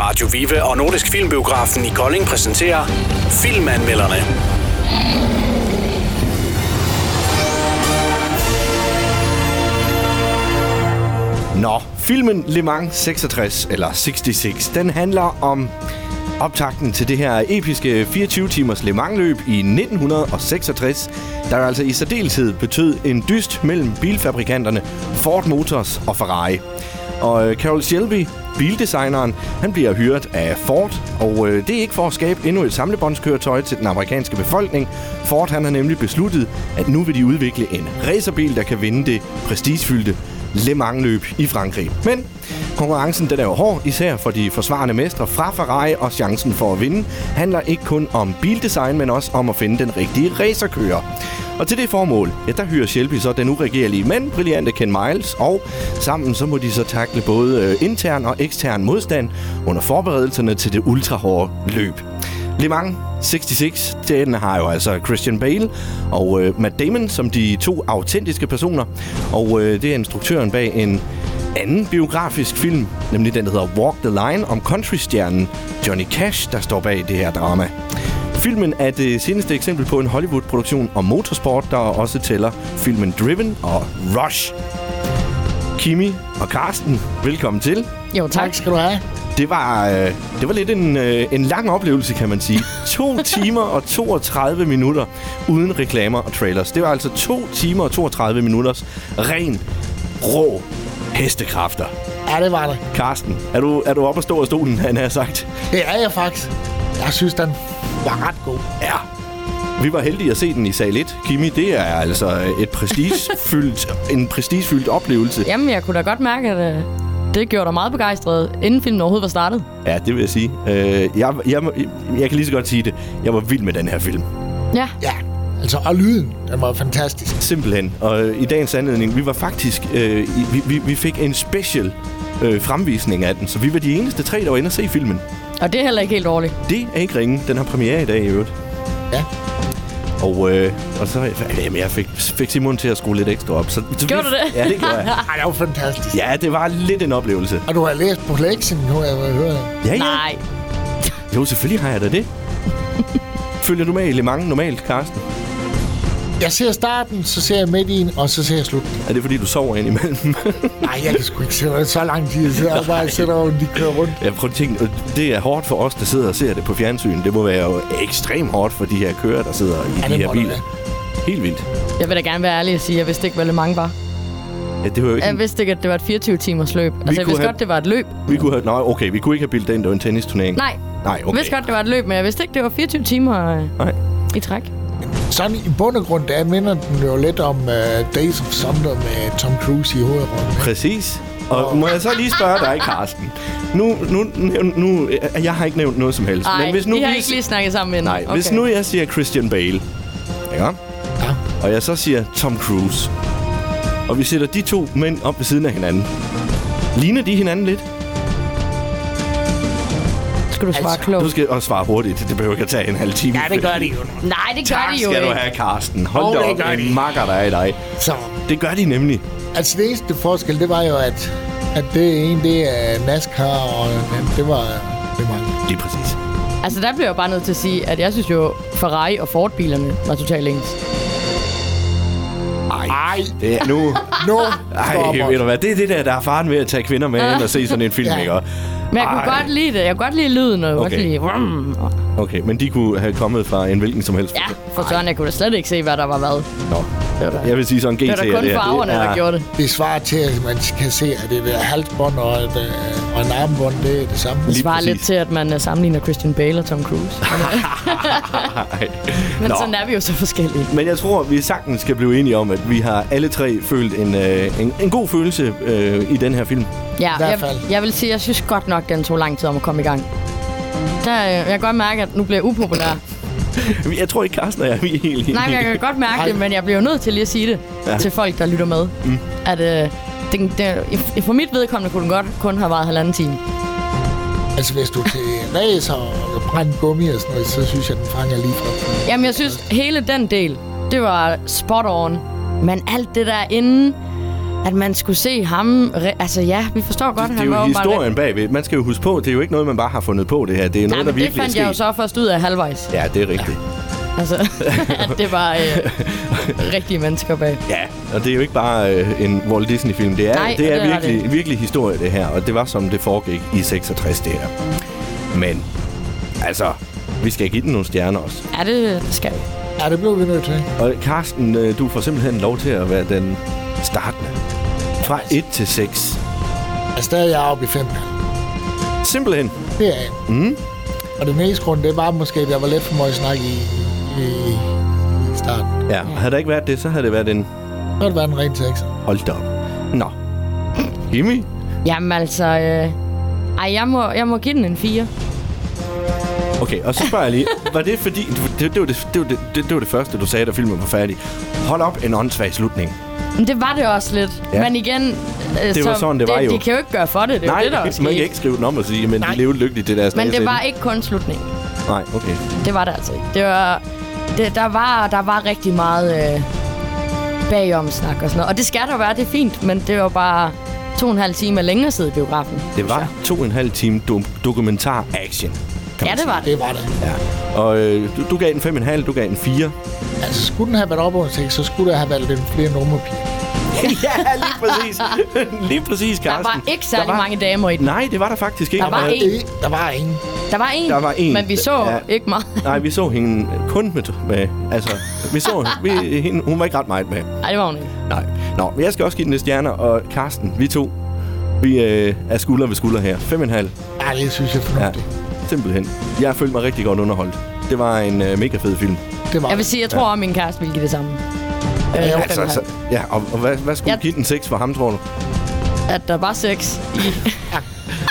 Radio Vive og Nordisk Filmbiografen i Kolding præsenterer Filmanmelderne. Nå, filmen Le Mans 66, eller 66, den handler om optakten til det her episke 24-timers Le Mans-løb i 1966, der altså i særdeleshed betød en dyst mellem bilfabrikanterne Ford Motors og Ferrari. Og øh, Carol Shelby, bildesigneren, han bliver hyret af Ford, og øh, det er ikke for at skabe endnu et samlebåndskøretøj til den amerikanske befolkning. Ford han har nemlig besluttet, at nu vil de udvikle en racerbil, der kan vinde det prestigefyldte Le Mans-løb i Frankrig. Men konkurrencen den er jo hård, især for de forsvarende mestre fra Ferrari, og chancen for at vinde handler ikke kun om bildesign, men også om at finde den rigtige racerkører. Og til det formål, ja, der hyrer Shelby så den uregerlige, men brillante Ken Miles, og sammen så må de så takle både øh, intern og ekstern modstand under forberedelserne til det ultrahårde løb. Le Mans 66, den har jo altså Christian Bale og øh, Matt Damon som de to autentiske personer. Og øh, det er instruktøren bag en anden biografisk film, nemlig den, der hedder Walk the Line, om countrystjernen Johnny Cash, der står bag det her drama. Filmen er det seneste eksempel på en Hollywood-produktion om motorsport, der også tæller filmen Driven og Rush. Kimi og Karsten, velkommen til. Jo, tak. Tak skal du have. Det var, øh, det var lidt en, øh, en lang oplevelse, kan man sige. To timer og 32 minutter uden reklamer og trailers. Det var altså to timer og 32 minutters ren, rå hestekræfter. Ja, det var det. Karsten, er du, er du oppe at stå af stolen, han har sagt? Det er jeg faktisk. Jeg synes, den var ret god. Ja. Vi var heldige at se den i sal 1. Kimi, det er altså et prestigefyldt, en prestigefyldt oplevelse. Jamen, jeg kunne da godt mærke, at øh, det gjorde dig meget begejstret, inden filmen overhovedet var startet. Ja, det vil jeg sige. Øh, jeg, jeg, jeg kan lige så godt sige det. Jeg var vild med den her film. Ja, Ja, altså, og lyden, den var fantastisk. Simpelthen. Og øh, i dagens anledning, vi var faktisk... Øh, i- vi, vi, vi fik en special øh, fremvisning af den, så vi var de eneste tre, der var inde og se filmen. og det er heller ikke helt dårligt. Det er ikke ringe. Den har premiere i dag i øvrigt. Ja. Og, øh, og så jamen, jeg fik, fik Simon til at skrue lidt ekstra op. Så, så Gjorde vi, du det? Ja, det gjorde jeg. Ej, det var fantastisk. Ja, det var lidt en oplevelse. Og du har læst på lektien nu, jeg vil høre. Ja, ja. Nej. Jo, selvfølgelig har jeg da det. Følger du med i Le Mans normalt, Karsten? Jeg ser starten, så ser jeg midt i en, og så ser jeg slut. Er det, fordi du sover ind imellem? Nej, jeg kan sgu ikke se det så lang tid. Jeg sidder bare og sætter over, de kører rundt. Jeg prøver at tænke, øh, det er hårdt for os, der sidder og ser det på fjernsyn. Det må være jo ekstremt hårdt for de her kører, der sidder i det de her må det biler. Helt vildt. Jeg vil da gerne være ærlig og sige, at jeg vidste ikke, hvad Le Mans var. Ja, det var jo ikke... Jeg vidste ikke, at det var et 24-timers løb. Altså, jeg kunne vidste have- godt, det var et løb. Vi kunne have... Nej, okay, vi kunne ikke have bildet den, det var en tennisturnering. Nej, Nej, jeg okay. vidste godt, det var et løb, men jeg vidste ikke, det var 24 timer øh, Nej. i træk. Sådan i bund og grund, der minder den jo lidt om uh, Days of Thunder med Tom Cruise i hovedrollen. Præcis. Og må jeg så lige spørge dig, Karsten? Nu, nu, nu, nu jeg har ikke nævnt noget som helst. Nej, hvis nu I har vi- ikke lige snakket sammen endnu. Nej, okay. hvis nu jeg siger Christian Bale, ja, Ja. og jeg så siger Tom Cruise, og vi sætter de to mænd op ved siden af hinanden, ligner de hinanden lidt? Skal du svare Altså, klogt? Du skal også svare hurtigt. Det behøver ikke at tage en halv time. de jo. Nej, det gør Tak de jo skal du ikke. have, Karsten. Hold Jo, da det op, gør en de. makker, der er i dig. Så Det gør de nemlig. Altså, det eneste forskel, det var jo, at, at det ene, det er NASCAR, og den, det var... Det var Lige præcis. Altså, der bliver jeg jo bare nødt til at sige, at jeg synes jo, Ferrari og Ford-bilerne var totalt ens. Ej. Ej, Det er nu... nu Ej, ved du hvad? Det er det der, der er faren ved at tage kvinder med ind og se sådan en film, Ja. ikke? Og- Men jeg kunne Ej. godt lide det. Jeg kunne godt lide lyden, og jeg kunne Okay. godt lide... Vrum, og Okay, men de kunne have kommet fra en hvilken som helst. Ja, for søren, jeg kunne da slet ikke se, hvad der var hvad. Nå. Jeg vil sige sådan en GT. Det var da er kun her. farverne, Det er- der gjorde det. Det svarer til, at man kan se, at det der halsbånd og, et, øh, og en armbånd, det er det samme. Det Lige svarer præcis. lidt til, at man øh, sammenligner Christian Bale og Tom Cruise. Ej. Men Nå. sådan er vi jo så forskellige. Men jeg tror, vi sagtens skal blive enige om, at vi har alle tre følt en, øh, en, en god følelse øh, i den her film. Ja, I hvert jeg, fald. jeg vil sige, jeg synes godt nok, den tog lang tid om at komme i gang. Der, øh, jeg kan godt mærke, at nu bliver jeg upopulær. Jeg tror ikke, Carsten og jeg vi er helt enige. Nej, men jeg kan godt mærke det, men jeg bliver jo nødt til lige at sige det Ja. ja. til folk, der lytter med. Mm. At øh, den, den, for mit vedkommende kunne den godt kun have været halvanden time. Altså, hvis du er til racer og brændt gummi og sådan noget, så synes jeg, den fanger lige fra. Jamen, jeg synes, hele den del, det var spot on. Men alt det der inden, at man skulle se ham... Re- altså ja, vi forstår godt, Det, det han er var jo åbenbart rigtig- historien bagved. Man skal jo huske på, det er jo ikke noget, man bare har fundet på det her. Det er Nej, noget, der men det virkelig er fandt jeg jo sket. så først ud af halvvejs. Ja, det er rigtigt. Altså, at det var øh, rigtige mennesker bag. Ja, og det er jo ikke bare øh, en Walt Disney-film. Det er, Nej, det er det er virkelig, det. virkelig historie, det her. Og det var, som det foregik i 66, det her. Men, altså, vi skal give den nogle stjerner også. Ja, det, det skal vi. Ja, det blev vi nødt til. Og Carsten, øh, du får simpelthen lov til at være den startende. Fra 1 til 6. Altså, der er jeg oppe i fem. Simpelthen. Det er jeg. Mm. Og det meste grund, det var måske, at der var lidt for meget snak i, i, i starten. Ja, havde der ikke været det, så havde det været en Så har det været en ren sekser. hold da op. Nå. Jimmy? Jamen altså... Øh, ej, jeg må, jeg må give den en 4. Okay, og så spørger jeg lige. Var det fordi... Det, det, var det, det, var det, det, det var det første, du sagde, da filmen var færdig. Hold op en åndssvag slutning. Men det var det også lidt. Ja. Ja. Men igen... Øh, Det var sådan, det var det jo. De kan jo ikke gøre for det. Det er Nej, jo det, der er man sket. kan ikke skrive den om og sige, men Nej. Nej. de levede lykkeligt til deres Men dages det var ende. ikke kun slutningen. Nej, okay. Det var det altså ikke. Det var, det, der, var, der var rigtig meget øh, bagom snak og sådan noget. Og det skal der være, det er fint. Men det var bare to og en halv time længere side i biografen. Det var to og en halv time do- dokumentar-action. Ja, det var det. Det var det. Ja. Og øh, du, du gav den fem og en halv, du gav den fire. Altså, skulle den have været op over en sekser, så skulle der have været lidt flere nummerpiger. ja, lige præcis. lige præcis, Der Carsten. var ikke særlig Der var- mange damer i den. Nej, det var der faktisk ikke. Der var Og- én. Det, der var ingen. Der var en, Der var én. men vi så Ja. ja. ikke meget. Nej, vi så hende kun med... med altså, vi så vi, hende. Hun var ikke ret meget med. Nej, det var hun ikke. Nej. Nå, men jeg skal også give den lidt stjerner, og Carsten, vi to, vi øh, er skulder ved skulder her. Fem og en halv. Ja, det synes jeg er Ja, fornuftigt. simpelthen. Jeg følte mig rigtig godt underholdt. Det var en øh, mega fed film. Ja. Det var Jeg vil sige, jeg tror, at min kæreste ville give det samme. Øh, fem jo, og Altså, en altså, halv. ja, og, og hvad, hvad skulle Jeg- jeg... give den 6 for ham, tror du? At der var sex i...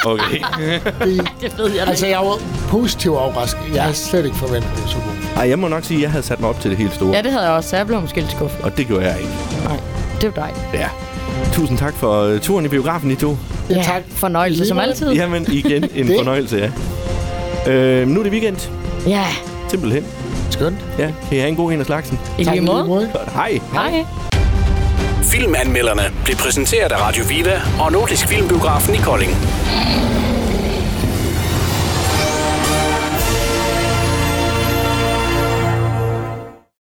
Okay. det. det ved jeg da Altså, ikke. jeg var positivt overrasket. Jeg havde slet ikke forventet, at det var så god. Ej, jeg må nok sige, at jeg havde sat mig op til det helt store. Ja, det havde jeg også, så jeg blev måske lidt skuffet. Og det gjorde jeg ikke. Nej, det var dig. Ja. Tusind tak for øh, turen i biografen, I to. Ja, tak. Fornøjelse som Lige altid. Ja. Jamen, igen en Det- fornøjelse, ja. Øh, nu er det weekend. ja. Simpelthen. Skønt. Ja, kan I have en god en af slagsen? I Tak lige måde. Godt. Hej. Hej. Filmanmelderne blev præsenteret af Radio Vive og Nordisk Filmbiografen i Kolding.